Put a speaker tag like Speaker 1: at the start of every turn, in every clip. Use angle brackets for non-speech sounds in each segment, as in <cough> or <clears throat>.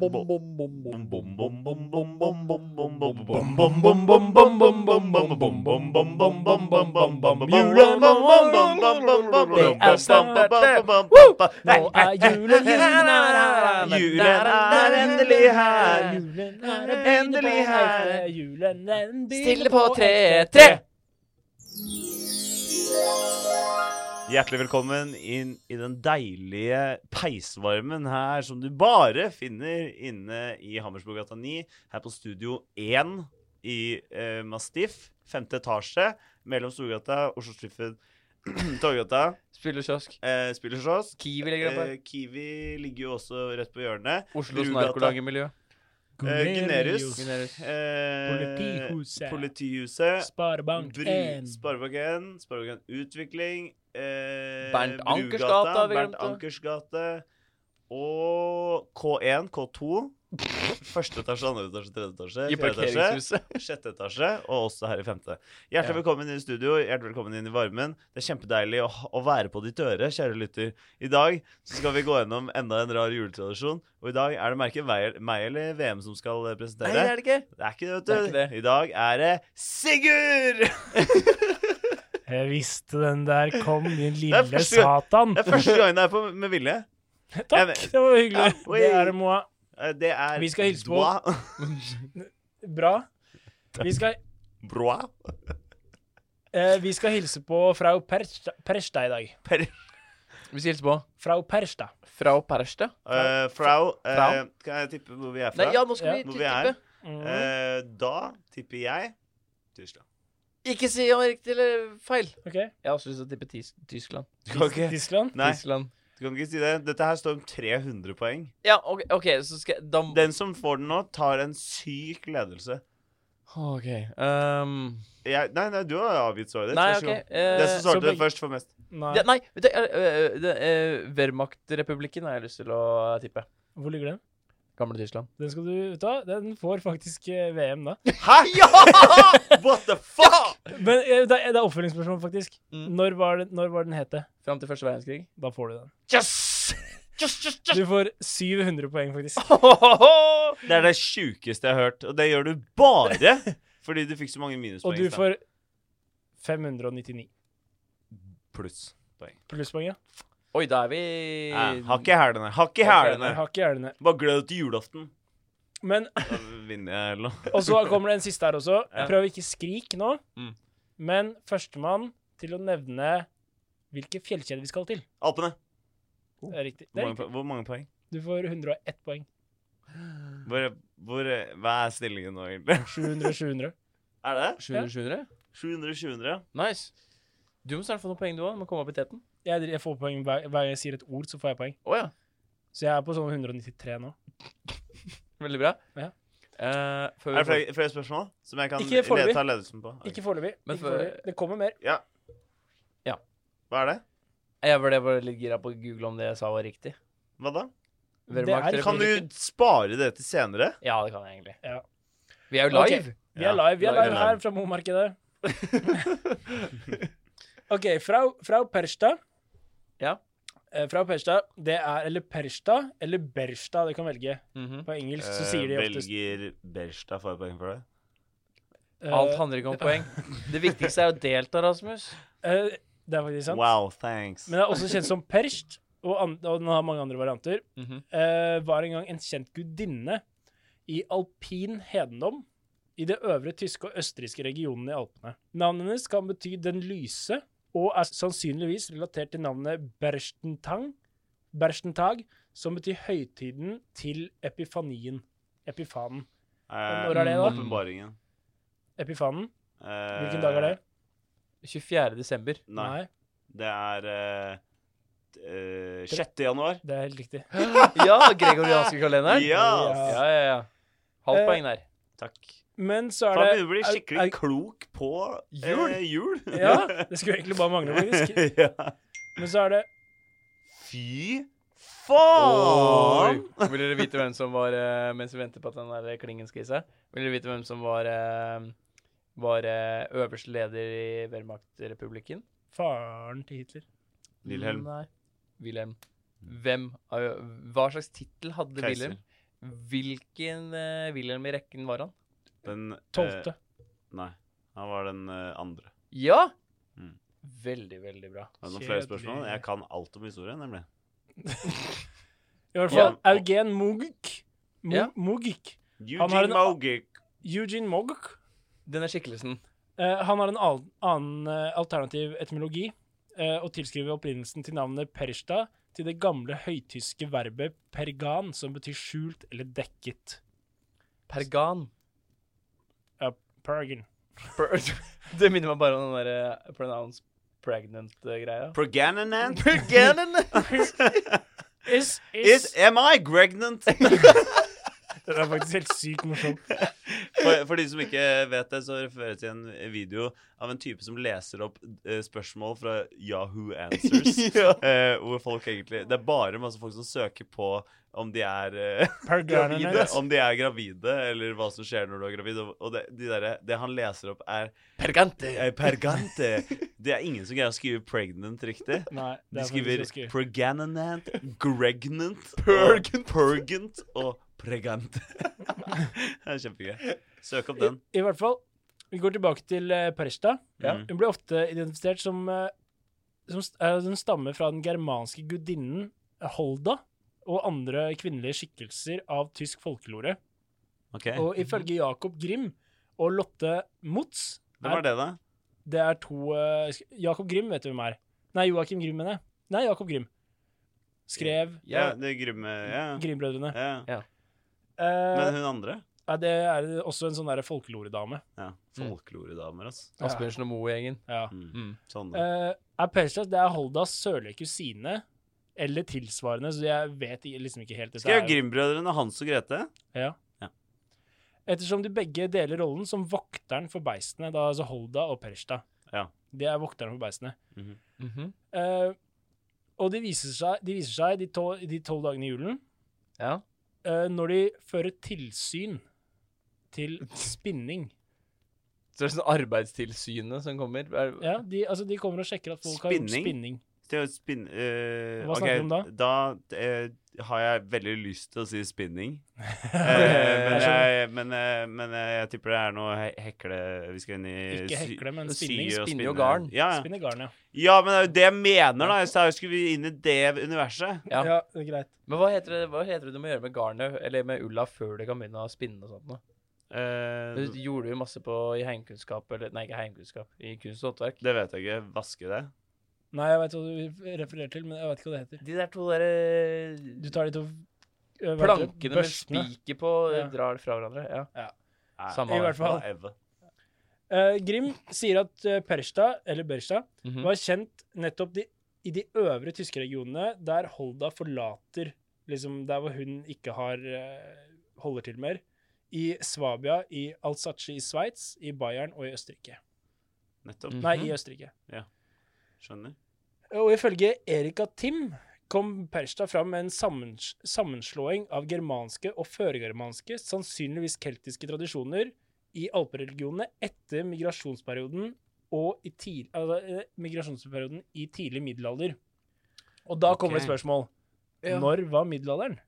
Speaker 1: bom, bom, bom, bom.
Speaker 2: Det er standardet.
Speaker 1: Nå er julen her!
Speaker 2: Julen er endelig her.
Speaker 1: Julen er
Speaker 2: Endelig her.
Speaker 1: Julen er endelig
Speaker 2: Stille på tre, tre. Hjertelig velkommen inn i den deilige peisvarmen her, som du bare finner inne i Hammersborggata 9, her på Studio 1 i eh, Mastiff, femte etasje, mellom Storgata, Oslo <clears throat> Striffen, Torgata,
Speaker 3: Spillekiosk.
Speaker 2: eh, Spillersås.
Speaker 3: Kiwi ligger oppe.
Speaker 2: Eh, Kiwi ligger jo også rett på hjørnet. Eh,
Speaker 3: Oslos
Speaker 2: Brugata.
Speaker 3: narkolangermiljø.
Speaker 2: Eh, Gunerius.
Speaker 3: Gunerius.
Speaker 2: Eh,
Speaker 1: Politihuset.
Speaker 2: Politihuset.
Speaker 1: Sparebank
Speaker 2: Bru-
Speaker 1: 1.
Speaker 2: Sparebank 1, Sparebank 1 Utvikling, eh,
Speaker 3: Bernt
Speaker 2: Brugata,
Speaker 3: Ankersgata har vi
Speaker 2: Bernt
Speaker 3: glemt, da.
Speaker 2: Ankers gate og K1, K2. Første etasje, andre etasje, tredje etasje, fjerde
Speaker 3: I
Speaker 2: etasje,
Speaker 3: parkeringshuset.
Speaker 2: sjette etasje og også her i femte. Hjertelig
Speaker 3: Ja.
Speaker 2: velkommen inn i studio, hjertelig velkommen inn i varmen. Det er kjempedeilig å, ha- å være på ditt øre, kjære lytter. I dag så skal vi gå gjennom enda en rar juletradisjon, og i dag er det verken meg meg eller VM som skal eh,
Speaker 3: Nei,
Speaker 2: presentere.
Speaker 3: det er det ikke.
Speaker 2: Det er ikke det, vet du.
Speaker 3: Det er ikke det.
Speaker 2: I dag er det Sigurd!
Speaker 1: Jeg visste den der kom, din
Speaker 2: er
Speaker 1: lille
Speaker 2: første gang-
Speaker 1: satan.
Speaker 2: Det er første gangen det er på med vilje. jeg
Speaker 1: Takk,
Speaker 2: vet-
Speaker 1: det var hyggelig.
Speaker 2: Ja, oi.
Speaker 1: Det er det, Moa.
Speaker 2: Eh, Det er
Speaker 1: Vi skal hilse på-
Speaker 2: Doa.
Speaker 1: Bra. Vi skal,
Speaker 2: Broa.
Speaker 1: eh, vi skal hilse på frau Persta, Persta i dag.
Speaker 2: Per,
Speaker 3: Vi skal hilse på
Speaker 1: Frau Persta.
Speaker 3: Frau Perste.
Speaker 2: Eh, frau, eh,
Speaker 3: Frau.
Speaker 2: kan jeg tippe hvor vi er fra?
Speaker 3: Nei, ja, nå
Speaker 1: Ja.
Speaker 3: skal vi
Speaker 2: Hvor vi er.
Speaker 3: tippe.
Speaker 1: Mm.
Speaker 2: Eh, da tipper jeg Tyskland.
Speaker 3: Ikke si om det er riktig eller feil.
Speaker 1: OK.
Speaker 3: Jeg har også lyst til å tippe tis Tyskland.
Speaker 2: Du kan ikke,
Speaker 1: Tyskland?
Speaker 2: nei,
Speaker 3: Tyskland.
Speaker 2: du kan ikke si det. Dette her står om 300 poeng.
Speaker 3: Ja, OK, ok, så skal jeg da
Speaker 2: Den som får den nå, tar en syk ledelse.
Speaker 3: OK. ehm,
Speaker 2: Jeg, nei, nei, du har avgitt svaret ditt.
Speaker 3: nei,
Speaker 2: Vær så
Speaker 3: OK.
Speaker 2: god.
Speaker 3: eh,
Speaker 2: Den som
Speaker 1: så
Speaker 2: svarte
Speaker 1: begge-
Speaker 2: først, får mest.
Speaker 1: Nei.
Speaker 3: det, nei, vet du, eh, eh, det, eh, Wehrmacht-republikken har jeg lyst til å eh, tippe.
Speaker 1: Hvor ligger den?
Speaker 3: Gamle Tyskland.
Speaker 1: Den skal du ta. Den får faktisk eh, VM, da.
Speaker 2: Hæ?! <laughs> What the fuck?!
Speaker 1: Men eh, det er, det er oppfølgingsspørsmål, faktisk.
Speaker 3: Mm.
Speaker 1: Når var det, når var den het det?
Speaker 3: Fram til første verdenskrig.
Speaker 1: Da får du den.
Speaker 2: Yes! Yes, yes, yes!
Speaker 1: Du får 700 poeng, faktisk.
Speaker 2: Det er det sjukeste jeg har hørt, og det gjør du bare fordi du fikk så mange
Speaker 1: Og
Speaker 2: minuspoeng.
Speaker 1: du
Speaker 2: i sted.
Speaker 1: får 599
Speaker 2: pluss.
Speaker 1: plusspoeng, ja.
Speaker 3: Oi, da er vi
Speaker 2: Eh, Hakk i hælene. Hakk i hælene.
Speaker 1: Jeg har ikke hjernene.
Speaker 2: Bare gled deg til julaften.
Speaker 1: Men,
Speaker 2: Da vinner jeg eller noe.
Speaker 1: og så kommer det en siste her også.
Speaker 2: Ja.
Speaker 1: Prøv å ikke skrike nå.
Speaker 3: Mm.
Speaker 1: Men førstemann til å nevne hvilke fjellkjeder vi skal til.
Speaker 2: Alpene.
Speaker 1: Det er riktig. Det
Speaker 2: Hvor
Speaker 1: er
Speaker 2: mange,
Speaker 1: riktig.
Speaker 2: po- hvor mange poeng?
Speaker 1: Du får 101 poeng.
Speaker 2: Hvor, hvor, hva er stillingen nå, egentlig? <laughs>
Speaker 1: 700-700.
Speaker 2: Er det
Speaker 3: 700?
Speaker 2: 700-700?
Speaker 3: Nice. Du må snart få noen poeng, du òg. Må komme opp i teten.
Speaker 1: Jeg, jeg får poeng hver, hver gang jeg sier et ord, så får jeg poeng.
Speaker 3: Å ja.
Speaker 1: Så jeg er på sånn 193 nå.
Speaker 3: Veldig bra.
Speaker 1: Ja.
Speaker 3: Eh, før
Speaker 2: Er
Speaker 3: vi
Speaker 2: det
Speaker 3: får-
Speaker 2: flere, flere spørsmål som jeg kan
Speaker 1: Ikke foreløpig.
Speaker 2: le- ta ledelsen på? Ok.
Speaker 1: Ikke foreløpig.
Speaker 3: Men
Speaker 1: Ikke
Speaker 3: for-
Speaker 1: foreløpig. Det kommer mer.
Speaker 2: Hva er det?
Speaker 3: Jeg var, jeg var litt gira på å google om det jeg sa var riktig.
Speaker 2: Hva da?
Speaker 1: Det er-
Speaker 3: Wehrmacht-republikken.
Speaker 2: Kan du spare det til senere?
Speaker 3: Ja, det kan jeg egentlig.
Speaker 1: Ja.
Speaker 3: Vi er jo
Speaker 1: Ok.
Speaker 3: live.
Speaker 1: Vi er
Speaker 2: Ja, <laughs>
Speaker 1: live, vi er
Speaker 2: live.
Speaker 1: live her fra Momarkedet. OK, frau, frau Persta.
Speaker 3: Ja.
Speaker 1: Eh, frau Persta, det er eller Persta eller Bersta, du kan velge.
Speaker 3: Mhm.
Speaker 1: På engelsk så sier de
Speaker 2: Eh,
Speaker 1: oftest
Speaker 2: Velger Berstad får jeg poeng for det?
Speaker 1: eh,
Speaker 3: Alt handler ikke om poeng. Det viktigste er å delta, Rasmus.
Speaker 1: eh, Det er faktisk sant.
Speaker 2: Wow, thanks.
Speaker 1: Men det er også kjent som Perst, og, an og den har mange andre varianter.
Speaker 3: Mhm.
Speaker 1: Eh, var en gang en kjent gudinne i alpin hedendom i det øvre tyske og østerrikske regionen i Alpene. Navnet hennes kan bety den lyse, og er sannsynligvis relatert til navnet Berstentang, Berstentag, som betyr høytiden til epifanien. Epifanen.
Speaker 2: Eh,
Speaker 1: Når er det, da?
Speaker 2: Åpenbaringen.
Speaker 1: Epifanen?
Speaker 2: Eh,
Speaker 1: Hvilken dag er det?
Speaker 2: <laughs>
Speaker 3: 24. desember.
Speaker 2: Nei. Det er eh, t- eh, 6. januar.
Speaker 1: det er helt riktig.
Speaker 3: Ja,
Speaker 2: <laughs>
Speaker 3: gregorianske kalenderen.
Speaker 2: Ja.
Speaker 3: Ja, ja, ja.
Speaker 1: Eh,
Speaker 3: Halvt poeng der.
Speaker 2: Takk.
Speaker 1: Men så er
Speaker 2: Faen,
Speaker 1: det
Speaker 2: begynner å bli
Speaker 1: er-
Speaker 2: skikkelig
Speaker 1: er-
Speaker 2: klok på eh,
Speaker 3: Jul?
Speaker 2: jul.
Speaker 1: Ja, det skulle egentlig bare mangle, faktisk.
Speaker 2: <laughs> Ja.
Speaker 1: Men så er det
Speaker 2: Fy
Speaker 3: Oi.
Speaker 2: Eh, faen!
Speaker 3: Vil dere vite hvem som var eh, Mens vi venter på at den der klingen skal gi seg, vil dere vite hvem som var eh, Var eh, øverste leder i Wehrmacht-republikken?
Speaker 1: faren til Hitler.
Speaker 2: Wilhelm. Mm.
Speaker 3: Nei. Wilhelm. Hvem av- Hva slags tittel hadde
Speaker 2: Keiser.
Speaker 3: Wilhelm? Hvilken eh, Wilhelm i rekken var han?
Speaker 2: Den eh,
Speaker 1: Tolvte.
Speaker 2: nei. Han var den eh, andre.
Speaker 3: Ja!
Speaker 2: Mm.
Speaker 3: Veldig, veldig bra.
Speaker 2: Har du noen flere
Speaker 1: Kjedelig.
Speaker 2: spørsmål? Jeg kan alt om historie, nemlig.
Speaker 1: I hvert fall
Speaker 2: Ja.
Speaker 1: Eugen Mugik. Mu-
Speaker 3: Ja.
Speaker 1: Mugik. Han har
Speaker 2: Eugene
Speaker 1: en-
Speaker 2: Mogik.
Speaker 1: Eugene Mogik.
Speaker 3: Denne skikkelsen.
Speaker 1: Eh, han har en al- annen eh, alternativ etymologi eh, og tilskriver opprinnelsen til navnet Persta til det gamle høytyske verbet pergan, som betyr skjult eller dekket.
Speaker 3: Pergan.
Speaker 1: Ja, pergan.
Speaker 3: Per <laughs> det minner meg bare om den eh, derre pronounce pregnant-greia.
Speaker 1: <laughs>
Speaker 2: Pregananant.
Speaker 3: Preganen!
Speaker 1: Is, is.
Speaker 2: <laughs> Is, am I pregnant?
Speaker 1: Den er faktisk helt sykt
Speaker 2: <laughs>
Speaker 1: morsom.
Speaker 2: For, for de som ikke vet det, så refererer jeg til en video av en type som leser opp eh, spørsmål fra Yahoo Answers.
Speaker 1: <laughs>
Speaker 2: eh, hvor folk egentlig Det er bare masse folk som søker på om de er eh,
Speaker 1: <laughs>
Speaker 2: gravide,
Speaker 1: Pergananant.
Speaker 2: om de er gravide, eller hva som skjer når du er gravid. Og, og det, de derre- det han leser opp, er
Speaker 3: Pergante.
Speaker 2: eh,
Speaker 1: <laughs>
Speaker 2: pergante. Det er ingen som greier å skrive pregnant riktig.
Speaker 1: Nei, det er
Speaker 2: De
Speaker 1: faktisk
Speaker 2: skriver
Speaker 1: ganske
Speaker 2: pregananant, gregnant,
Speaker 3: Pergant.
Speaker 2: og pergant og pregant. <laughs> det er kjempegøy. Søk opp den.
Speaker 1: I, I hvert fall, vi går tilbake til uh, Persta.
Speaker 3: Ja.
Speaker 2: Mm.
Speaker 1: Hun ble ofte identifisert som, eh, som st- eh, Hun stammer fra den germanske gudinnen Holda og andre kvinnelige skikkelser av tysk folkelore.
Speaker 2: Ok,
Speaker 1: Og ifølge Jakob Grimm og Lotte Motz
Speaker 2: Hvem er det, da?
Speaker 1: Det er to eh, sk- Jakob Grimm vet du hvem er. Nei, Joakim Grimm, mener jeg. Nei, Jakob Grimm. Skrev
Speaker 2: Ja,
Speaker 3: Ja,
Speaker 2: det er Grumme ja.
Speaker 1: Grimm-brødrene.
Speaker 2: ja.
Speaker 1: Eh,
Speaker 2: Men hun andre?
Speaker 1: nei, det er også en sånn derre folkeloredame.
Speaker 2: Ja.
Speaker 1: mm.
Speaker 2: Folkloredamer, ass.
Speaker 3: Asbjørnsen og Moe-gjengen.
Speaker 1: Ja.
Speaker 2: Mm.
Speaker 3: Mm.
Speaker 2: Sånne.
Speaker 1: Eh, er Persas det er Holdas sørlige kusine eller tilsvarende, så jeg vet i- liksom ikke helt. Dette er
Speaker 2: Skrev
Speaker 1: jo-
Speaker 2: Grimm-brødrene Hans og Grete?
Speaker 1: Ja.
Speaker 2: Ja.
Speaker 1: Ettersom de begge deler rollen som vokteren for beistene, da altså Holda og Persta.
Speaker 2: Ja.
Speaker 1: Det er vokteren for beistene.
Speaker 3: Mhm.
Speaker 1: Eh, og de viser seg de, viser seg de, tol, de tolv dagene i julen
Speaker 3: Ja.
Speaker 1: eh, når de fører tilsyn til spinning.
Speaker 3: Så det er sånn Arbeidstilsynet som kommer. Er,
Speaker 1: Ja, de, altså de kommer og sjekker at folk har gjort
Speaker 2: Spinning?
Speaker 1: spinning.
Speaker 2: Til å spinne eh,
Speaker 1: Hva
Speaker 2: ok,
Speaker 1: snakker du om
Speaker 2: Da eh, har jeg veldig lyst til å si spinning.
Speaker 1: <laughs>
Speaker 2: Eh, men,
Speaker 1: sånn,
Speaker 2: jeg, men, eh, men eh, jeg tipper det er noe he- hekle Vi skal inn i
Speaker 1: Ikke
Speaker 2: sy-
Speaker 1: hekle, men
Speaker 2: sy
Speaker 1: spinning.
Speaker 2: og
Speaker 3: Spinne
Speaker 2: spinne.
Speaker 3: og garn.
Speaker 2: Ja, ja.
Speaker 1: Spinne garn, ja.
Speaker 2: ja, men det er jo det jeg mener, da. Jeg sa jo skulle vi inn i det universet.
Speaker 3: Ja.
Speaker 1: det er greit.
Speaker 3: Men hva heter, det, hva heter det du må gjøre med garnet, eller med ulla, før du kan begynne å spinne og sånt? nå?
Speaker 2: Eh,
Speaker 3: Du gjorde jo masse på i heimkunnskap, eller nei, ikke heimkunnskap, i kunst og håndverk.
Speaker 2: det vet jeg ikke. Vaske det?
Speaker 1: Nei, jeg veit hva du refererer til, men jeg vet ikke hva det heter.
Speaker 3: De der to derre
Speaker 1: Du tar de to øh, hva heter det?
Speaker 3: plankene med
Speaker 1: Børstene.
Speaker 3: spiker på, eh,
Speaker 1: Ja.
Speaker 3: drar fra hverandre. Ja.
Speaker 2: Nei,
Speaker 3: Samme
Speaker 1: I hvert fall.
Speaker 2: whatever.
Speaker 1: Eh, Grim sier at uh, Persta, eller Bersta,
Speaker 3: Mhm.
Speaker 1: var kjent nettopp de, i de øvre tyske regionene, der Holda forlater liksom der hvor hun ikke har eh, holder til mer. I Svabia, i Alsace i Sveits, i Bayern og i Østerrike.
Speaker 2: Nettopp.
Speaker 3: Mm.
Speaker 1: Nei,
Speaker 3: Mhm.
Speaker 1: i Østerrike.
Speaker 2: Skjønner.
Speaker 1: Og ifølge Erika Tim kom Persta fram med en sammens sammenslåing av germanske og førgermanske, sannsynligvis keltiske tradisjoner, i alpereligionene etter migrasjonsperioden og i tid, altså, eh, migrasjonsperioden i tidlig middelalder. Og da kommer det
Speaker 2: Ok.
Speaker 1: spørsmål.
Speaker 3: Ja.
Speaker 1: Når var middelalderen?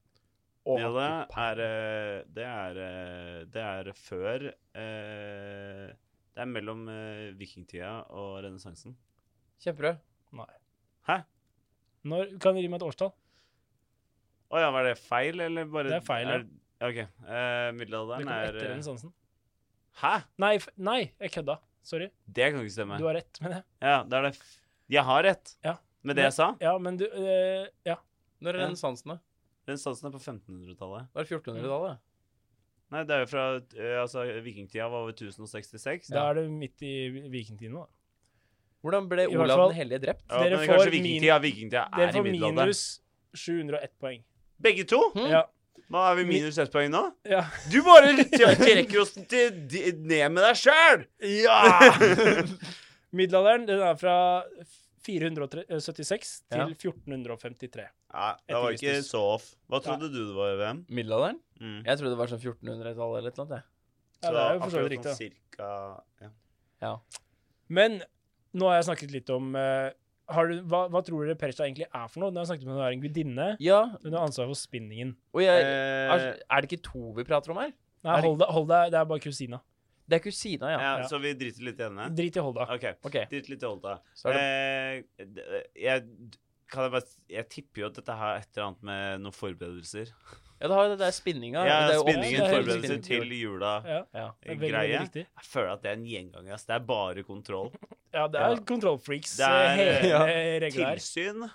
Speaker 3: Å,
Speaker 2: Ja,
Speaker 3: fy
Speaker 2: det
Speaker 3: faen.
Speaker 2: er eh, Det er, eh, det er før eh, Det er mellom eh, vikingtida og renessansen.
Speaker 3: Kjempebra.
Speaker 2: Hæ?
Speaker 1: Når, kan du gi meg et årstall?
Speaker 2: Å ja, var det feil, eller bare
Speaker 1: Det er feil, ja.
Speaker 2: ja. OK. eh,
Speaker 1: Det
Speaker 2: middelalderen
Speaker 1: kom
Speaker 2: er
Speaker 1: etter
Speaker 2: eh,
Speaker 1: renessansen.
Speaker 2: Hæ?
Speaker 1: Nei, f- nei, jeg kødda. Sorry.
Speaker 2: Det kan ikke stemme.
Speaker 1: Du har rett, mener jeg.
Speaker 2: Ja, det er det f Jeg har rett
Speaker 1: Ja.
Speaker 2: med det jeg sa.
Speaker 1: Ja, men du eh, Ja.
Speaker 3: Når er
Speaker 2: Ja.
Speaker 3: renessansen, da?
Speaker 2: Renessansen er på 1500-tallet.
Speaker 3: Var det 1400-tallet?
Speaker 2: Nei, det er jo fra eh, Altså, vikingtida var over 1066.
Speaker 1: Da er det midt i vikingtiden, da.
Speaker 3: Hvordan ble
Speaker 1: I hvert
Speaker 3: Olav
Speaker 1: fall-
Speaker 3: den hellige drept?
Speaker 2: Ja,
Speaker 1: Dere
Speaker 2: men
Speaker 1: får
Speaker 2: kanskje
Speaker 1: min-
Speaker 2: vikingtida, vikingtida
Speaker 1: Dere
Speaker 2: er i
Speaker 1: får
Speaker 2: middelalderen.
Speaker 1: minus 701 poeng.
Speaker 2: Begge to?
Speaker 3: Hm?
Speaker 1: Ja.
Speaker 2: Hva er vi minus ett poeng nå?
Speaker 1: Ja.
Speaker 2: Du bare trekker oss til, ned med deg sjæl! <laughs> Ja!
Speaker 1: Middelalderen den er fra 476 eh, til
Speaker 3: Ja.
Speaker 1: 1453.
Speaker 2: det var ikke så off. Hva trodde du det var, VM?
Speaker 3: Middelalderen?
Speaker 2: Mm.
Speaker 3: Jeg trodde det var sånn 1400-tallet eller et eller annet. jeg.
Speaker 1: Ja, det er jo for så vidt riktig. da.
Speaker 2: sånn Cirka, ja.
Speaker 3: Ja.
Speaker 1: Men nå har jeg snakket litt om eh, har du, hva, hva tror dere Percha egentlig er for noe? Nå har jeg snakket om hun er en gudinne.
Speaker 3: Ja,
Speaker 1: Hun har ansvar for spinningen.
Speaker 3: og jeg Er
Speaker 2: Eh,
Speaker 3: er det ikke to vi prater om her?
Speaker 1: Nei,
Speaker 3: Er det-
Speaker 1: hold deg, hold deg, det er bare kusina.
Speaker 3: Det er kusina, ja.
Speaker 2: ja,
Speaker 1: ja.
Speaker 2: så vi driter litt i henne?
Speaker 1: Drit i Holda.
Speaker 2: OK.
Speaker 3: OK.
Speaker 2: Drit litt i Olta.
Speaker 3: Så er det,
Speaker 2: Eh, d- jeg, kan jeg, bare, s- jeg tipper jo at dette har et eller annet med noen forberedelser.
Speaker 3: ja, det har jo det der
Speaker 2: Ja,
Speaker 3: spinninga. og det er jo
Speaker 2: spinningen,
Speaker 1: det
Speaker 3: ofte-
Speaker 1: er helt
Speaker 2: forberedelser
Speaker 1: riktig.
Speaker 2: til jula.
Speaker 1: Ja,
Speaker 2: <laughs>
Speaker 3: Ja.
Speaker 1: det er veldig, veldig
Speaker 2: Greie.
Speaker 1: riktig.
Speaker 2: Jeg føler at det er en gjenganger. ass. Det er bare kontroll.
Speaker 1: Ja, det er
Speaker 3: Ja.
Speaker 1: kontrollfreaks.
Speaker 2: Det er,
Speaker 1: eh,
Speaker 2: <laughs>
Speaker 1: hele regla her.
Speaker 2: Tilsyn.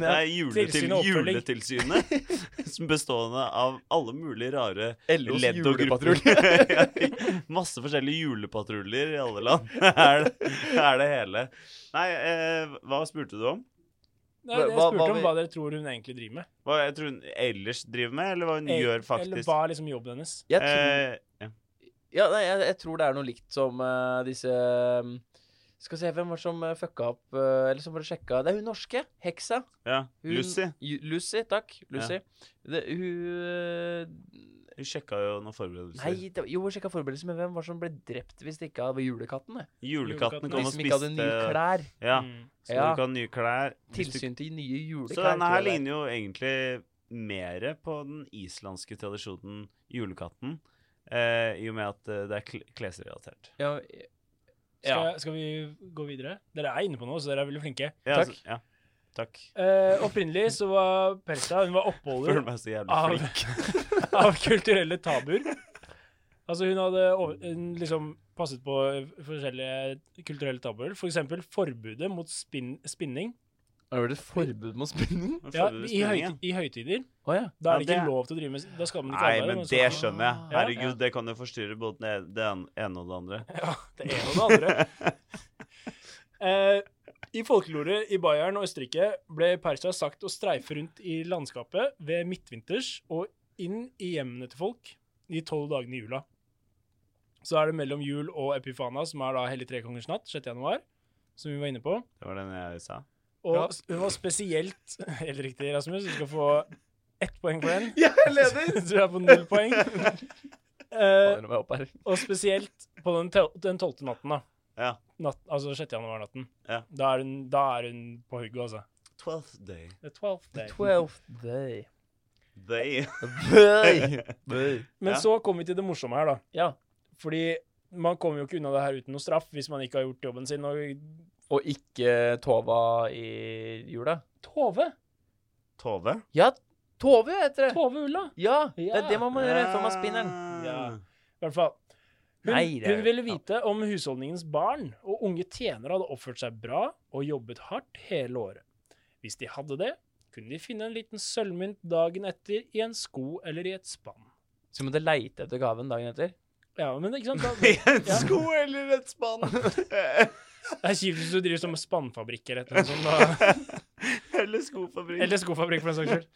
Speaker 2: Det
Speaker 3: ja.
Speaker 2: er juletil
Speaker 1: Tilsyn og oppfølging.
Speaker 2: juletilsynet, <laughs> som bestående av alle mulige rare
Speaker 3: LOs
Speaker 2: ledd og grupper.
Speaker 3: julepatrulje.
Speaker 2: <laughs> Ja, Masse forskjellige julepatruljer i alle land. <laughs> Er det, er det hele. Nei, eh, hva spurte du om?
Speaker 1: Nei, jeg
Speaker 3: Hva- hva-
Speaker 1: spurte om
Speaker 3: hva-
Speaker 1: hva dere tror hun egentlig driver med.
Speaker 2: Hva jeg tror hun ellers driver med, eller hva hun
Speaker 1: Eh,
Speaker 2: gjør
Speaker 1: Eller
Speaker 2: faktisk?
Speaker 1: hva er liksom jobben hennes?
Speaker 3: <laughs> Jeg tror,
Speaker 2: Eh, ja.
Speaker 3: ja, nei, jeg, jeg tror det er noe likt som eh, disse eh, Skal vi se, hvem var det som eh, fucka opp eh, Eller som bare sjekka Det er hun norske. Heksa.
Speaker 2: ja.
Speaker 3: Hun,
Speaker 2: Lucy.
Speaker 3: Ju- Lucy, takk. Lucy. Det, hun eh,
Speaker 2: Hun sjekka jo noen forberedelser.
Speaker 3: Nei, det, jo, sjekka forberedelser, men hvem var det som ble drept hvis det ikke var julekatten? det?
Speaker 2: Julekatten
Speaker 1: Julekatten.
Speaker 2: kom
Speaker 3: De
Speaker 2: og
Speaker 3: som liksom ikke hadde nye
Speaker 2: spiste
Speaker 3: klær.
Speaker 2: Ja,
Speaker 1: Mm.
Speaker 2: så
Speaker 3: Ja.
Speaker 2: du kan ha nye klær. eh, Hvis du
Speaker 3: Tilsyn til nye juleklær.
Speaker 2: Så denne
Speaker 3: tror
Speaker 2: her
Speaker 3: jeg det er.
Speaker 2: ligner jo egentlig mer på den islandske tradisjonen julekatten, eh, i og med at eh, det er kl klesrelatert.
Speaker 3: Ja,
Speaker 1: Skal,
Speaker 3: ja.
Speaker 1: jeg- skal vi gå videre? Dere er inne på noe, så dere er veldig flinke.
Speaker 2: Ja,
Speaker 3: Takk.
Speaker 2: altså, ja. Takk.
Speaker 1: Eh, opprinnelig så var Persa hun var
Speaker 2: Føler
Speaker 1: oppholder
Speaker 2: meg så jævlig
Speaker 1: av,
Speaker 2: flink.
Speaker 1: av kulturelle tabuer. Altså hun hadde over- hun liksom passet på forskjellige kulturelle tabuer. For eksempel forbudet mot spinn, spinning
Speaker 3: Har det vært et forbud mot spinning?
Speaker 2: Men
Speaker 1: <laughs> ja,
Speaker 2: føler du
Speaker 1: i,
Speaker 2: spinning, ja?
Speaker 1: høyt, i høytider.
Speaker 3: Å ja.
Speaker 1: Da er
Speaker 2: Ja,
Speaker 1: det ikke
Speaker 2: det-
Speaker 1: lov til å drive med Da skal man ikke
Speaker 2: Nei,
Speaker 1: arbeide,
Speaker 2: men
Speaker 1: man
Speaker 2: det
Speaker 1: skal-
Speaker 2: skjønner jeg.
Speaker 3: Ja.
Speaker 2: Herregud, det kan jo forstyrre både det det en- ene og det andre.
Speaker 1: Ja, det ene og det andre. Eh, I folklore i Bayern og Østerrike ble Persa sagt å streife rundt i landskapet ved midtvinters og inn i hjemmene til folk de tolv dagene i jula. Så er det mellom jul og epifana, som er da hellig trekongers natt, 6. januar, som vi var inne på.
Speaker 2: Det var den jeg sa.
Speaker 1: Og
Speaker 3: Ja.
Speaker 1: s- hun var spesielt <laughs> Helt riktig, Rasmus. Du skal få ett poeng for den.
Speaker 3: Jeg
Speaker 1: <laughs> Du er på null poeng. Eh,
Speaker 3: Fader, nå må jeg opp her.
Speaker 1: og spesielt på den tel- den tolvte natten, da.
Speaker 2: Ja.
Speaker 1: Natt, altså 6. januar-natten.
Speaker 2: Ja.
Speaker 1: Da, er hun, da er hun på hugget, altså.
Speaker 2: Twelfth day.
Speaker 1: The 12th day.
Speaker 3: Twelfth day.
Speaker 2: Day. <laughs>
Speaker 3: Bøy. Bøy.
Speaker 1: Men
Speaker 2: Ja.
Speaker 1: så kom vi til det morsomme her, da.
Speaker 3: Ja.
Speaker 1: Fordi man kommer jo ikke unna det her uten noe straff hvis man ikke har gjort jobben sin. Og
Speaker 3: Og ikke Tova i jula.
Speaker 1: Tove!
Speaker 2: Tove?
Speaker 3: Ja, Tove heter det.
Speaker 1: Tove Ulla!
Speaker 3: Ja, det
Speaker 1: Ja.
Speaker 3: er det man må gjøre før man spinner.
Speaker 1: Ja. I hvert fall. Hun,
Speaker 3: Nei, det
Speaker 1: hun
Speaker 3: er jo-
Speaker 1: ville vite om husholdningens barn og unge tjenere hadde oppført seg bra og jobbet hardt hele året. Hvis de hadde det, kunne de finne en liten sølvmynt dagen etter i en sko eller i et spann.
Speaker 3: Så vi måtte leite etter gaven dagen etter.
Speaker 1: Ja, men ikke
Speaker 2: <laughs>
Speaker 1: sant? Da,
Speaker 2: I en sko eller et <laughs> spann?
Speaker 1: det er kjipt hvis du driver som spannfabrikk eller noe sånt. Da.
Speaker 2: eller skofabrikk.
Speaker 1: Eller skofabrikk, for den saks skyld.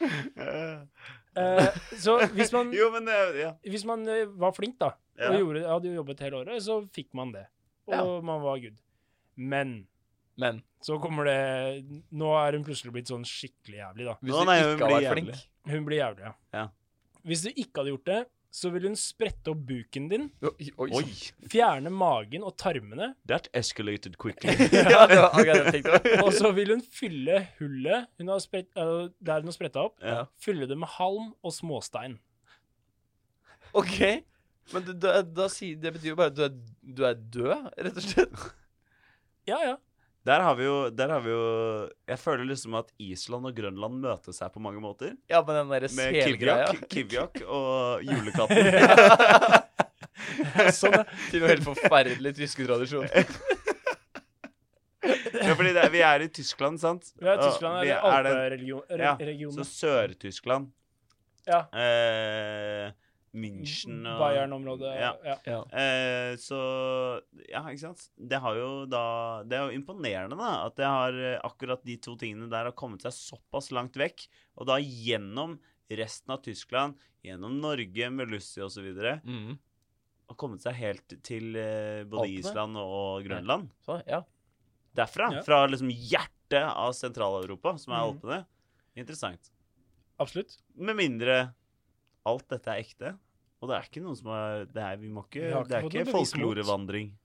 Speaker 1: Eh, så hvis man,
Speaker 2: Jo, men eh, ja.
Speaker 1: hvis man eh, var flink, da, og
Speaker 2: Ja.
Speaker 1: gjorde, hadde jobbet hele året, så fikk man det. Og
Speaker 3: Ja.
Speaker 1: man var good. Men
Speaker 3: Men <laughs>
Speaker 1: så kommer det Nå er hun plutselig blitt sånn skikkelig jævlig, da.
Speaker 3: hvis
Speaker 2: Å,
Speaker 3: du
Speaker 2: nei, hun
Speaker 3: ikke har
Speaker 2: blir
Speaker 3: vært
Speaker 2: jævlig.
Speaker 3: flink
Speaker 1: Hun blir jævlig, ja.
Speaker 2: Ja.
Speaker 1: Hvis du ikke hadde gjort det, så ville hun sprette opp buken din,
Speaker 3: Oi, oi.
Speaker 2: Oi.
Speaker 1: fjerne magen og tarmene,
Speaker 2: That escalated <laughs> quickly.
Speaker 3: ja, det var akkurat det jeg tenkte.
Speaker 1: og så vil hun fylle hullet hun har sprett, eh, der hun har spretta opp,
Speaker 2: Ja.
Speaker 1: fylle det med halm og småstein.
Speaker 3: OK. Men du, da, da sier, det betyr jo bare at du er, du er død, rett og slett.
Speaker 1: Ja, ja.
Speaker 2: Der har vi jo Der har vi jo Jeg føler liksom at Island og Grønland møter seg på mange måter.
Speaker 3: <laughs> Ja, men den derre
Speaker 2: Med
Speaker 3: selgreia
Speaker 2: Kivjak,
Speaker 3: <laughs>
Speaker 2: Kivjak og julekatten.
Speaker 1: Sånn, ja.
Speaker 3: Til noe helt forferdelig tyske <laughs> tradisjon.
Speaker 2: ja, fordi det, vi er i Tyskland, sant?
Speaker 1: Vi er i
Speaker 2: Og
Speaker 1: Tyskland, eller
Speaker 2: vi er den- Ja, Så
Speaker 1: Alperegionen.
Speaker 2: Sør-Tyskland.
Speaker 1: Ja.
Speaker 2: Eh, München og
Speaker 1: Bayern-området.
Speaker 2: Ja.
Speaker 1: Ja. Ja.
Speaker 2: Eh, så Ja, ikke sant? Det har jo da Det er jo imponerende, da, at det har eh, akkurat de to tingene der har kommet seg såpass langt vekk, og da gjennom resten av Tyskland, gjennom Norge med Lucy osv.,
Speaker 3: Mm.
Speaker 2: og kommet seg helt til eh, både
Speaker 3: Alpene.
Speaker 2: Island og Grønland.
Speaker 3: Så, sånn, ja.
Speaker 2: Derfra.
Speaker 1: Ja.
Speaker 2: Fra liksom hjertet av Sentral-Europa, som er
Speaker 1: Mhm.
Speaker 2: Alpene. Interessant.
Speaker 1: Absolutt.
Speaker 2: Med mindre alt dette er ekte. Og det er ikke noen som er Det er, vi må ikke,
Speaker 1: Vi har ikke
Speaker 2: det er
Speaker 1: fått
Speaker 2: ikke
Speaker 1: noe bevis mot.
Speaker 2: folklorevandring.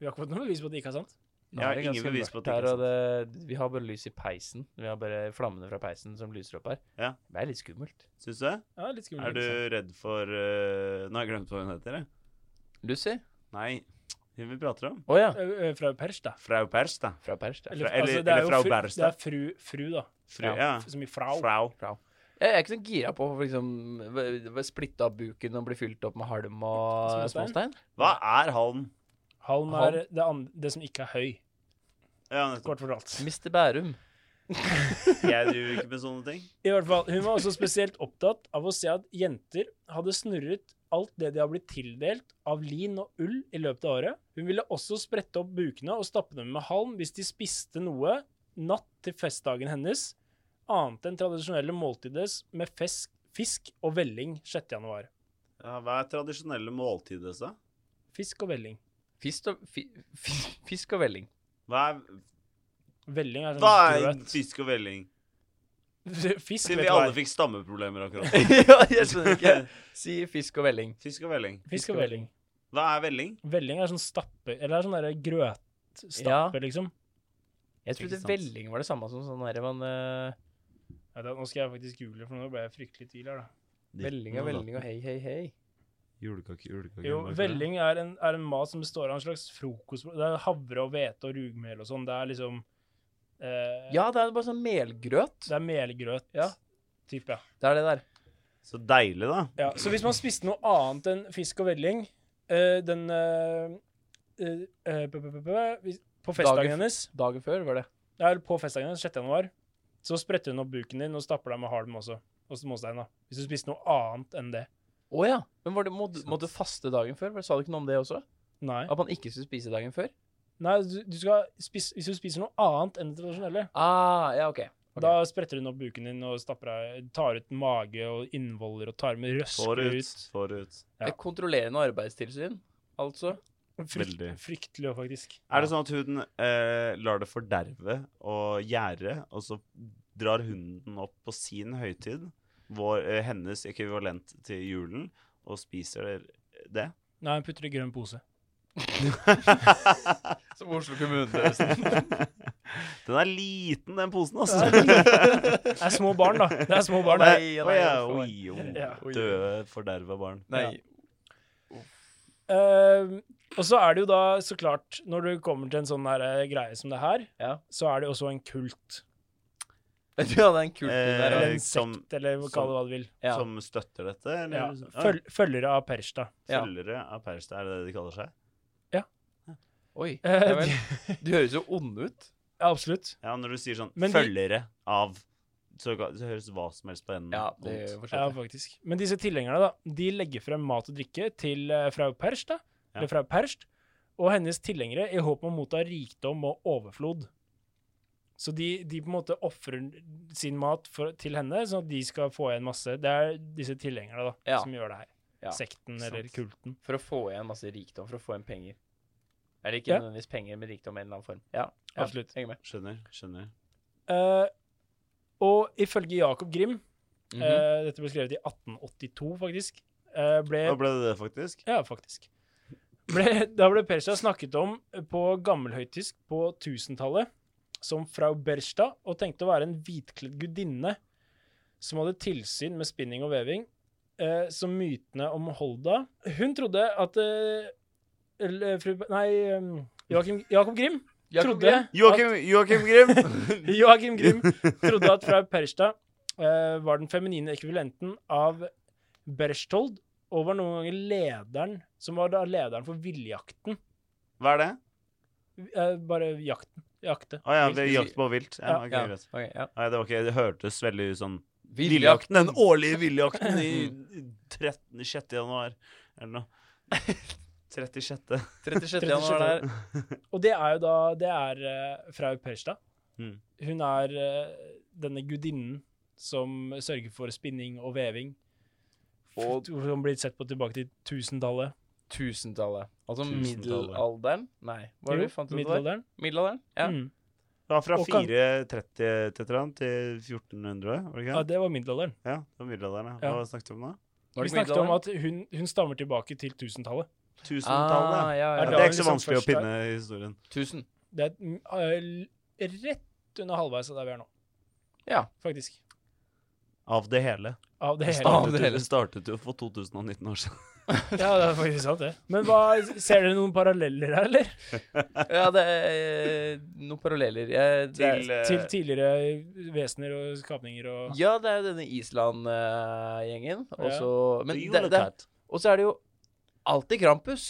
Speaker 1: Vi har ikke fått noe bevis på at det ikke er sant.
Speaker 2: Jeg
Speaker 3: Nå er
Speaker 2: har
Speaker 3: det
Speaker 2: ingen
Speaker 3: ganske
Speaker 2: bevis på
Speaker 3: mørkt
Speaker 2: at det ikke er
Speaker 3: her, og det- Vi har bare lys i peisen. Vi har bare flammene fra peisen som lyser opp her.
Speaker 2: Ja.
Speaker 3: Det er litt skummelt.
Speaker 2: Syns du det?
Speaker 1: Ja, litt skummelt.
Speaker 2: Er du redd for eh, Nå har jeg glemt hva hun heter. jeg.
Speaker 3: Lucy?
Speaker 2: Nei, hun vi prater om.
Speaker 3: Å ja.
Speaker 1: Ø- ø, Eh, Fra pers, da.
Speaker 2: Frau Persta.
Speaker 3: Fra pers, det.
Speaker 1: Eller,
Speaker 2: Fra- eller-
Speaker 1: altså, det er
Speaker 2: eller
Speaker 1: jo
Speaker 2: fra
Speaker 1: fru,
Speaker 2: Bergstad.
Speaker 1: Det er fru, fru da.
Speaker 2: Fru,
Speaker 3: Ja.
Speaker 2: ja.
Speaker 1: Som i frau.
Speaker 2: Frau.
Speaker 3: Jeg er ikke så gira på å liksom, v- v- splitte av buken og bli fylt opp med halm og
Speaker 1: Småstein?
Speaker 3: småstein.
Speaker 2: Hva er halm?
Speaker 1: Halm
Speaker 3: Halm.
Speaker 1: er det, andre, det som ikke er høy,
Speaker 2: Ja, nettopp.
Speaker 1: kort fortalt.
Speaker 3: Mr. Bærum.
Speaker 2: Jeg driver ikke med sånne ting.
Speaker 1: I hvert fall, Hun var også spesielt opptatt av å se at jenter hadde snurret alt det de har blitt tildelt av lin og ull i løpet av året. Hun ville også sprette opp bukene og stappe dem med halm hvis de spiste noe natt til festdagen hennes, annet enn tradisjonelle måltides med fesk, fisk og velling 6. januar.
Speaker 2: Ja, hva er tradisjonelle altså? måltid, disse?
Speaker 1: Fisk og velling.
Speaker 3: Fisk og, fi, fi- fisk og velling.
Speaker 2: Hva er,
Speaker 1: Velling er
Speaker 2: hva
Speaker 1: sånn
Speaker 2: er
Speaker 1: grøt.
Speaker 2: fisk og velling?
Speaker 1: <laughs> Fisk,
Speaker 2: Siden
Speaker 1: vet
Speaker 2: vi
Speaker 1: du hva
Speaker 2: alle
Speaker 1: er.
Speaker 2: fikk stammeproblemer akkurat.
Speaker 3: <laughs> ja, <laughs> jeg skjønner ikke. Si fisk og velling.
Speaker 2: Fisk og velling.
Speaker 1: Fisk og velling.
Speaker 2: Hva er velling?
Speaker 1: Velling er sånn stappe, eller er sånn derre
Speaker 3: Ja.
Speaker 1: grøtstappe, liksom.
Speaker 3: Jeg trodde
Speaker 2: Ikke sant.
Speaker 3: velling var det samme som sånn derre man eh,
Speaker 1: Ja, da, nå skal jeg faktisk google, for nå ble jeg fryktelig i tvil her, da.
Speaker 3: Velling og velling og hei, hei, hei.
Speaker 2: Julekake, julekake.
Speaker 1: Jo, velling er en, er en mat som består av en slags frokost... Det er havre og hvete og rugmel og sånn. Det er liksom eh,
Speaker 3: Ja, det er bare sånn melgrøt.
Speaker 1: Det er melgrøt.
Speaker 3: Ja.
Speaker 1: Type, ja.
Speaker 3: Det er det der.
Speaker 2: Så deilig, da.
Speaker 1: ja. Så hvis man spiste noe annet enn fisk og velling eh, den eh, eh, eh, p- p- p- p- hvis- På festdagen
Speaker 3: Dagen-
Speaker 1: hennes,
Speaker 3: Dagen før var det.
Speaker 1: ja, eller på festdagen hennes 6. januar, så spretter hun opp buken din og stapper deg med halm også. Og småstein, da. Hvis du spiste noe annet enn det.
Speaker 3: Å ja. Men var det, må, må du faste dagen før? Sa du ikke noe om det også?
Speaker 1: Nei.
Speaker 3: At man ikke skulle spise dagen før?
Speaker 1: Nei du, du skal spise, hvis du spiser noe annet enn det tradisjonelle,
Speaker 3: Ah, ja, OK. Ok.
Speaker 1: Da spretter hun opp buken din og stapper deg, tar ut mage og innvoller og tar med røsker ut.
Speaker 2: Forut. Forut.
Speaker 1: Ja.
Speaker 3: Et kontrollerende arbeidstilsyn, altså.
Speaker 1: Frykt,
Speaker 2: Veldig.
Speaker 1: fryktelig, faktisk.
Speaker 2: Er det sånn at huden eh, lar det forderve og gjære, og så drar hunden opp på sin høytid, vår, eh, hennes ekvivalent til julen, og spiser det?
Speaker 1: Nei, hun putter det i grønn pose.
Speaker 3: Som Oslo kommune, forresten.
Speaker 2: <laughs> Den er liten, den posen, altså. <laughs>
Speaker 1: Det er små barn, da. Det er små barn.
Speaker 3: Nei.
Speaker 2: Å ja,
Speaker 3: nei,
Speaker 2: oi, jo.
Speaker 1: Ja.
Speaker 2: Døde, forderva barn.
Speaker 3: <laughs> Nei.
Speaker 1: Eh, og så er det jo da, så klart, når du kommer til en sånn her, eh, greie som det her,
Speaker 3: Ja.
Speaker 1: så er det jo også en kult.
Speaker 3: Jeg tror jeg hadde en kult
Speaker 2: Eh,
Speaker 3: der.
Speaker 1: Eller
Speaker 3: også.
Speaker 1: en
Speaker 2: som-
Speaker 1: sekt, eller hva- kall det hva du vil.
Speaker 3: Ja.
Speaker 2: Som støtter dette? Eller?
Speaker 1: Ja.
Speaker 2: Ah,
Speaker 1: Føl, følgere av Persta.
Speaker 3: ja.
Speaker 2: Følgere av Perstad, er det det de kaller seg?
Speaker 3: Oi.
Speaker 1: Eh,
Speaker 3: Ja, vel. Du høres jo ond ut.
Speaker 1: Ja, absolutt.
Speaker 2: Ja, når du sier sånn
Speaker 1: Men de-
Speaker 2: 'følgere av' så, ga- så høres hva som helst på enden
Speaker 3: Ja, det
Speaker 2: vondt.
Speaker 3: forstår
Speaker 1: Ja,
Speaker 3: jeg.
Speaker 1: faktisk. Men disse tilhengerne, da, de legger frem mat og drikke til eh, frau Perst, da,
Speaker 2: Ja.
Speaker 1: eller frau Perst, og hennes tilhengere i håp om å motta rikdom og overflod. Så de, de på en måte ofrer sin mat for, til henne, sånn at de skal få igjen masse. Det er disse tilhengerne da,
Speaker 3: Ja.
Speaker 1: som gjør det her.
Speaker 3: Ja,
Speaker 1: Sekten
Speaker 2: sant.
Speaker 1: eller kulten.
Speaker 3: For å få igjen masse rikdom, for å få igjen penger. Eller ikke
Speaker 1: Ja.
Speaker 3: nødvendigvis penger, men rikdom i en eller annen form. Ja, ja.
Speaker 1: Absolutt.
Speaker 3: Henger med.
Speaker 2: Skjønner. skjønner.
Speaker 1: Eh, og ifølge Jakob Grimm,
Speaker 3: Mhm.
Speaker 1: eh, dette ble skrevet i 1882 faktisk, eh, ble
Speaker 2: Da ble det
Speaker 1: <laughs>
Speaker 2: det, faktisk.
Speaker 1: Ja, faktisk. Ble, da ble Persia snakket om på gammelhøytysk på 1000-tallet som frau Berstad, og tenkte å være en hvitkledd gudinne som hadde tilsyn med spinning og veving, eh, som mytene om Holda. Hun trodde at eh, eller, fru, Nei, eh, Joachim, Jakob Grimm
Speaker 3: Jakob
Speaker 1: trodde
Speaker 3: Grimm?
Speaker 2: Joakim, Joakim Grim!
Speaker 1: <laughs> Joachim Grimm trodde at frau Perstad eh, var den feminine ekvivalenten av Berchtold, og var noen ganger lederen, som var da lederen for villjakten.
Speaker 2: <laughs> Hva er det?
Speaker 1: Eh, bare jakten. Jakte.
Speaker 2: Å ja,
Speaker 3: Vilt,
Speaker 2: det er
Speaker 3: vi-
Speaker 2: jakt på vilt. Ja, ok,
Speaker 3: Ja,
Speaker 2: greit.
Speaker 3: ok, ja.
Speaker 2: Nei, det var ikke, det hørtes veldig ut sånn
Speaker 3: Villjakten.
Speaker 2: Den årlige villjakten i
Speaker 3: <laughs>
Speaker 2: 13. 6. januar, eller noe. 36.
Speaker 3: 36. januar der.
Speaker 1: Og det er jo da Det er eh, frau Perstad.
Speaker 2: Mm.
Speaker 1: Hun er eh, denne gudinnen som sørger for spinning og veving.
Speaker 3: Og-
Speaker 1: Og som blir sett på tilbake til 1000-tallet.
Speaker 3: Tusentallet. Altså
Speaker 2: Tusentallet.
Speaker 3: middelalderen? Nei, hva var det
Speaker 1: Jo,
Speaker 3: du fant ut det var?
Speaker 1: Middelalderen.
Speaker 3: Middelalderen? Ja.
Speaker 1: Mm.
Speaker 2: Det var fra
Speaker 1: Og kan-
Speaker 2: 430 til, et eller annet til 1400, var det
Speaker 1: ja,
Speaker 2: ikke? det?
Speaker 1: det var middelalderen.
Speaker 2: Ja, det var middelalderen. ja.
Speaker 1: Ja.
Speaker 2: Hva snakket vi om da?
Speaker 3: Var
Speaker 1: Vi
Speaker 3: det
Speaker 1: snakket om
Speaker 3: middelalderen?
Speaker 1: at hun, hun stammer tilbake til 1000-tallet.
Speaker 2: Tusentallet.
Speaker 3: Ah, ja,
Speaker 2: ja.
Speaker 1: Er
Speaker 3: ja,
Speaker 2: det
Speaker 1: da
Speaker 2: er
Speaker 3: ja.
Speaker 2: ikke så
Speaker 1: liksom
Speaker 2: vanskelig å
Speaker 1: først der?
Speaker 2: pinne historien.
Speaker 3: Tusen.
Speaker 1: Det er mm, eh, l- rett under halvveis av der vi er nå.
Speaker 3: Ja.
Speaker 1: faktisk.
Speaker 2: Av det hele.
Speaker 1: Av det hele.
Speaker 3: Av
Speaker 2: Startet,
Speaker 3: det hele.
Speaker 2: jo- startet jo for 2019 år siden.
Speaker 1: Ja, det er faktisk sant, det. Men hva, ser dere noen paralleller her, eller?
Speaker 3: <laughs> Ja, det er eh, noen paralleller.
Speaker 1: <laughs>
Speaker 3: Jeg, det er,
Speaker 2: Til, eh,
Speaker 1: Til tidligere vesener og skapninger og
Speaker 3: ja, det er jo denne Island-gjengen. Og
Speaker 1: Ja.
Speaker 3: så men
Speaker 2: til
Speaker 3: det- det-
Speaker 2: Julekat.
Speaker 3: Og så er det jo alltid Krampus.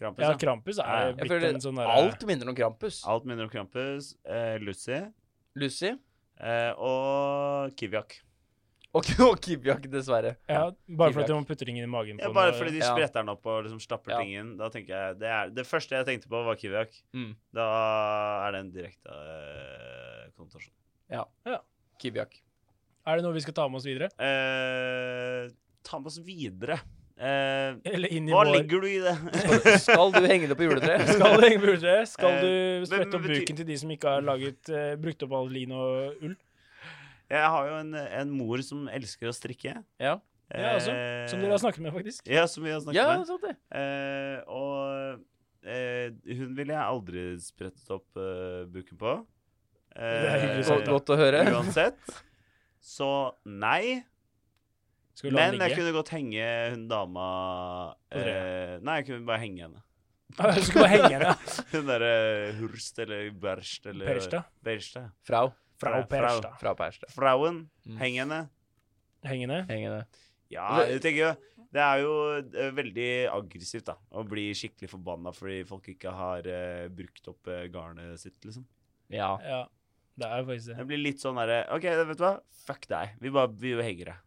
Speaker 2: Krampus,
Speaker 1: Ja,
Speaker 2: ja.
Speaker 1: Krampus er
Speaker 2: Jeg
Speaker 3: Jeg
Speaker 1: blitt
Speaker 3: føler
Speaker 1: en sånn derre
Speaker 3: alt minner om Krampus.
Speaker 2: Alt minner om Krampus, eh, Lucy
Speaker 3: Lucy
Speaker 2: eh, og Kiviak.
Speaker 3: og, <laughs> og Kibjak, dessverre.
Speaker 1: Ja, bare fordi
Speaker 3: Tidligere.
Speaker 1: du må putte ringen i magen på
Speaker 2: Ja, bare
Speaker 1: noe-
Speaker 2: fordi de
Speaker 3: Ja.
Speaker 2: spretter den opp og liksom stapper
Speaker 3: Ja.
Speaker 2: ting inn. Da tenker jeg, det, er, det første jeg tenkte på, var Kiviak.
Speaker 3: Mm.
Speaker 2: Da er det en direkte eh, konnotasjon.
Speaker 3: Kibjak.
Speaker 1: Er det noe vi skal ta med oss videre?
Speaker 2: Eh, ta med oss videre. Eh,
Speaker 1: Eller inn i
Speaker 2: hva
Speaker 1: vår
Speaker 2: legger du i det? <laughs>
Speaker 3: Skal du henge det på juletreet?
Speaker 1: <laughs> Skal du henge bursdag? Skal
Speaker 2: Eh,
Speaker 1: du
Speaker 2: men
Speaker 1: sprette opp
Speaker 2: bety-
Speaker 1: buken til de som ikke har laget, eh, brukt opp all lin og ull?
Speaker 2: Jeg har jo en, en mor som elsker å strikke.
Speaker 3: Ja.
Speaker 1: Ja, altså, Som
Speaker 2: Eh.
Speaker 1: dere har snakket med, faktisk.
Speaker 2: Ja, som vi har snakket
Speaker 3: Ja,
Speaker 2: med.
Speaker 3: sant det.
Speaker 2: Eh, og eh, hun ville jeg aldri sprettet opp eh, buken på. Eh,
Speaker 1: Det er hyggelig
Speaker 3: Godt, godt å høre.
Speaker 2: <laughs> Uansett. Så nei.
Speaker 1: Skal vi la
Speaker 2: Men
Speaker 1: den
Speaker 2: jeg
Speaker 1: ligge?
Speaker 2: kunne godt henge hun dama
Speaker 1: På
Speaker 2: eh, Nei, jeg kunne bare henge henne. <laughs>
Speaker 1: Ah, Du <laughs> skal bare henge henne.
Speaker 2: Hun derre Hurst eller Berst <laughs> eller
Speaker 1: Persta.
Speaker 2: Bersta.
Speaker 3: Frau.
Speaker 1: Frau
Speaker 2: Frau.
Speaker 1: Persta.
Speaker 3: Fra Perstø.
Speaker 2: Frauen.
Speaker 3: Mm.
Speaker 2: Heng henne.
Speaker 1: Hengende.
Speaker 3: Hengende.
Speaker 2: Ja,
Speaker 3: Altså-
Speaker 2: jeg tenker jo Det er jo eh, veldig aggressivt, da. Å bli skikkelig forbanna fordi folk ikke har eh, brukt opp eh, garnet sitt, liksom.
Speaker 3: Ja.
Speaker 1: Ja, det er faktisk det.
Speaker 2: Jeg blir litt sånn derre OK, vet du hva? Fuck deg. Vi bare vi henger deg.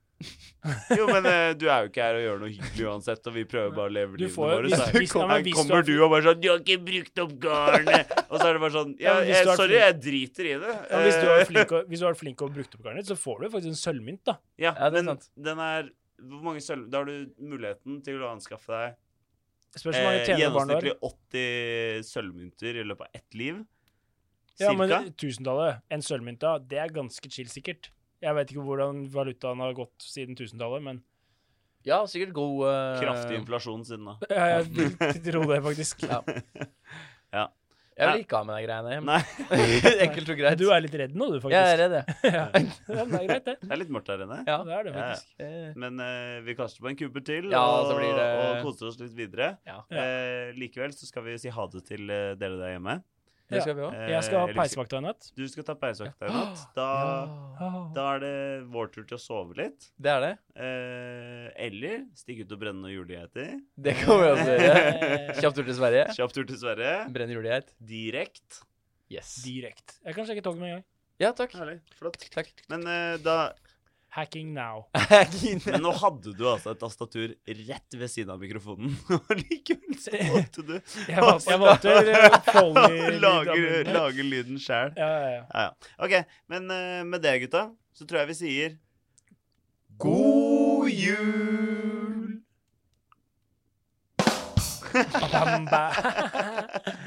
Speaker 2: Jo, men eh, du er jo ikke her og gjør noe hyggelig uansett, og vi prøver bare å leve
Speaker 1: Du
Speaker 2: livet
Speaker 1: får jo
Speaker 2: vårt.
Speaker 1: hvis-
Speaker 2: så
Speaker 1: hvis- <laughs> ja, men
Speaker 2: her
Speaker 1: hvis du har-
Speaker 2: kommer du og bare sånn 'Du har ikke brukt opp garnet!' Og så er det bare sånn
Speaker 1: Ja,
Speaker 2: ja,
Speaker 1: men hvis
Speaker 2: jeg,
Speaker 1: du er
Speaker 2: 'Sorry, jeg driter i det'.
Speaker 1: Ja, hvis, du
Speaker 2: Eh,
Speaker 1: er flink og, hvis du er flink og brukt opp garnet ditt, så får du faktisk en sølvmynt, da.
Speaker 2: Ja,
Speaker 3: Ja, det er
Speaker 2: men
Speaker 3: sant.
Speaker 2: den er Hvor mange sølv Da har du muligheten til å anskaffe deg
Speaker 1: Spørs hvor mange
Speaker 2: Eh,
Speaker 1: tjenende barn du har.
Speaker 2: gjennomsnittlig 80 sølvmynter i løpet av ett liv.
Speaker 1: Ja, men
Speaker 2: Cirka.
Speaker 1: tusentallet, en sølvmynt da, det er ganske chill sikkert. Jeg vet ikke hvordan valutaen har gått siden tusentallet, men <laughs>
Speaker 3: ja, sikkert god eh,
Speaker 2: Kraftig inflasjon siden
Speaker 1: <laughs>
Speaker 2: da.
Speaker 1: jeg vil tro det,
Speaker 2: <laughs>
Speaker 1: faktisk.
Speaker 3: Ja.
Speaker 2: Ja.
Speaker 3: Jeg vil ikke ha med de greiene. <laughs>
Speaker 2: Nei,
Speaker 3: Enkelt og greit.
Speaker 1: Du er litt redd nå, du,
Speaker 3: Jeg
Speaker 1: faktisk.
Speaker 3: er redd, jeg.
Speaker 1: <laughs> Ja, men det er greit, det.
Speaker 2: det er litt mørkt her inne.
Speaker 3: Ja.
Speaker 1: Det er det,
Speaker 2: Ja, ja.
Speaker 1: faktisk.
Speaker 3: Eh,
Speaker 2: Men eh, vi kaster på en kuber til
Speaker 3: Ja,
Speaker 2: og,
Speaker 3: så blir det-
Speaker 2: og koser oss litt videre.
Speaker 3: Ja.
Speaker 2: Eh, likevel så skal vi si ha det til eh, dere der hjemme.
Speaker 3: Det skal vi òg.
Speaker 2: Eh,
Speaker 1: Jeg skal ha
Speaker 2: eller-
Speaker 1: peisvakta i natt.
Speaker 2: Du skal ta peisvakta i natt. Da,
Speaker 1: Ah.
Speaker 2: da <laughs> er det vår tur til å sove litt.
Speaker 3: Det er det.
Speaker 2: Eh, eller stikke ut og brenne noen julegeiter.
Speaker 3: Det kan vi
Speaker 1: <laughs>
Speaker 3: også gjøre. Kjapp tur til Sverige.
Speaker 2: Kjapp tur til Sverige.
Speaker 3: Brenn julegeit.
Speaker 2: Direkt.
Speaker 3: Yes.
Speaker 1: Direkte. Jeg kan sjekke toget med en gang.
Speaker 3: Ja, takk.
Speaker 2: Herlig. Flott.
Speaker 3: Takk.
Speaker 2: Men eh, da
Speaker 1: Hacking now.
Speaker 3: <laughs>
Speaker 2: Men nå hadde du altså et tastatur rett ved siden av mikrofonen, <laughs> og likevel så valgte du
Speaker 1: Jeg valgte, jeg valgte eh, Foley.
Speaker 2: å
Speaker 1: lyd av
Speaker 2: <laughs> lage,
Speaker 1: munnen.
Speaker 2: lage lyden sjæl.
Speaker 1: Ja, ja, ja.
Speaker 2: Ja, ja. OK, men eh, med det, gutta, så tror jeg vi sier
Speaker 1: God jul! Bam, bam.